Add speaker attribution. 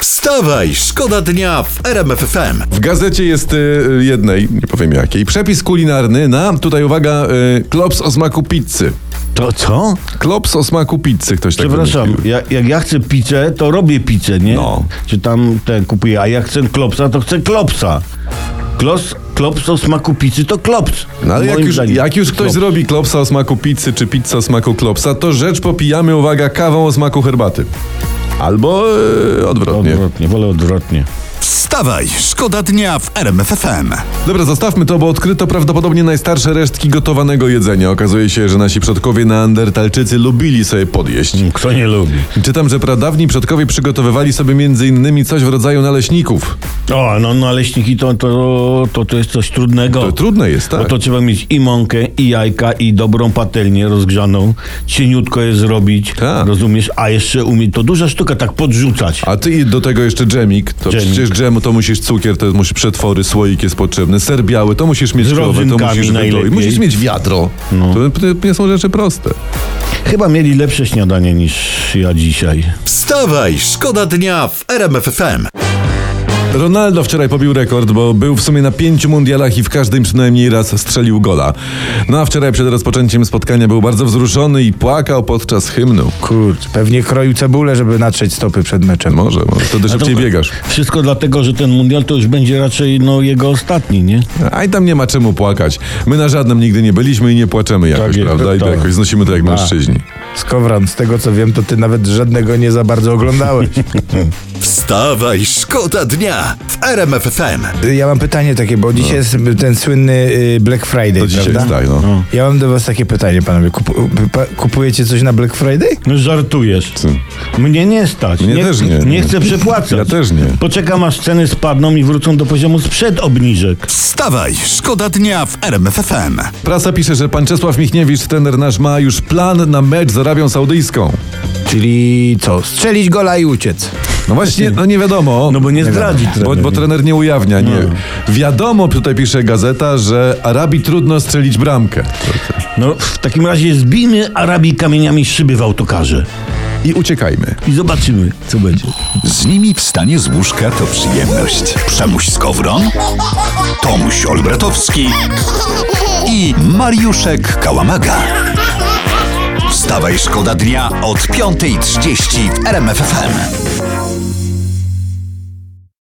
Speaker 1: Wstawaj, szkoda dnia w RMF FM.
Speaker 2: W gazecie jest y, y, jednej, nie powiem jakiej, przepis kulinarny na, tutaj uwaga, y, klops o smaku pizzy.
Speaker 3: To co?
Speaker 2: Klops o smaku pizzy, ktoś tak
Speaker 3: Przepraszam,
Speaker 2: wymyślił.
Speaker 3: ja, jak ja chcę pizzę, to robię pizzę, nie?
Speaker 2: No.
Speaker 3: Czy tam ten kupuję, a jak chcę klopsa, to chcę klopsa. Klos, klops o smaku pizzy to klops.
Speaker 2: No ale jak
Speaker 3: Moim
Speaker 2: już,
Speaker 3: zdaniem. No.
Speaker 2: jak już ktoś
Speaker 3: Klops.
Speaker 2: zrobi klopsa o smaku pizzy, czy pizza o smaku klopsa, to rzecz popijamy, uwaga, kawą o smaku herbaty. Albo y, odwrotnie.
Speaker 3: Odwrotnie, wolę odwrotnie.
Speaker 1: Wstawaj, szkoda dnia w RMF FM.
Speaker 2: Dobra, zostawmy to, bo odkryto prawdopodobnie najstarsze resztki gotowanego jedzenia. Okazuje się, że nasi przodkowie neandertalczycy lubili sobie podjeść.
Speaker 3: Kto nie lubi?
Speaker 2: Czytam, że pradawni przodkowie przygotowywali sobie m.in. coś w rodzaju naleśników.
Speaker 3: O, no, no leśniki to, to, to, to jest coś trudnego.
Speaker 2: To trudne jest, tak?
Speaker 3: Bo to trzeba mieć i mąkę, i jajka, i dobrą patelnię rozgrzaną. Cieniutko je zrobić,
Speaker 2: Tak.
Speaker 3: rozumiesz? A jeszcze umie, to duża sztuka, tak podrzucać.
Speaker 2: A ty i do tego jeszcze dżemik. To
Speaker 3: Dżemik.
Speaker 2: przecież dżemu to musisz cukier, to musisz przetwory, słoik jest potrzebny, ser biały, to musisz mieć
Speaker 3: Z
Speaker 2: krowę, to
Speaker 3: rodzynkami
Speaker 2: musisz
Speaker 3: najlepiej. No.
Speaker 2: wydoi- Musisz mieć wiadro. To, to nie są rzeczy proste.
Speaker 3: Chyba mieli lepsze śniadanie niż ja dzisiaj.
Speaker 1: Wstawaj, szkoda dnia w RMF FM.
Speaker 2: Ronaldo wczoraj pobił rekord, bo był w sumie na pięciu mundialach i w każdym przynajmniej raz strzelił gola. No a wczoraj przed rozpoczęciem spotkania był bardzo wzruszony i płakał podczas hymnu.
Speaker 4: Kurcz, pewnie kroił cebulę, żeby natrzeć stopy przed meczem.
Speaker 2: Może, może wtedy szybciej
Speaker 3: to-
Speaker 2: biegasz.
Speaker 3: Wszystko dlatego, że ten mundial to już będzie raczej no, jego ostatni, nie?
Speaker 2: A i tam nie ma czemu płakać. My na żadnym nigdy nie byliśmy i nie płaczemy jakoś,
Speaker 3: Tak jest,
Speaker 2: prawda? I to
Speaker 3: tak.
Speaker 2: jakoś znosimy to jak mężczyźni.
Speaker 4: Skowron, z tego co wiem, to ty nawet żadnego nie za bardzo oglądałeś.
Speaker 1: Wstawaj, szkoda dnia w RMF FM.
Speaker 4: ja mam pytanie takie, bo dzisiaj jest ten słynny y, Black Friday,
Speaker 2: To dzisiaj
Speaker 4: prawda?
Speaker 2: tak, no.
Speaker 4: Ja mam do was takie pytanie, panowie. Kupu- pa- kupujecie coś na Black Friday?
Speaker 3: No żartujesz. Mnie nie stać.
Speaker 2: Mnie też nie.
Speaker 3: Nie chcę przepłacać.
Speaker 2: Ja też nie.
Speaker 3: Poczekam aż ceny spadną i wrócą do poziomu sprzed obniżek.
Speaker 1: Wstawaj, szkoda dnia w RMF FM.
Speaker 2: Prasa pisze, że pan Czesław Michniewicz, trener nasz, ma już plan na mecz z Arabią Saudyjską.
Speaker 4: Czyli co? Strzelić gola i uciec.
Speaker 2: No właśnie, no nie wiadomo.
Speaker 3: No bo nie No. zdradzi
Speaker 2: Bo,
Speaker 3: trener.
Speaker 2: bo trener nie ujawnia, nie. Wiadomo, tutaj pisze gazeta, że Arabii trudno strzelić bramkę.
Speaker 3: No w takim razie zbijmy Arabii kamieniami szyby w autokarze.
Speaker 2: I uciekajmy.
Speaker 3: I zobaczymy, co będzie.
Speaker 1: Z nimi wstanie z łóżka to przyjemność. Przemuś Skowron, Tomuś Olbratowski i Mariuszek Kałamaga. Wstawaj, szkoda dnia od 5.30 w RMF FM.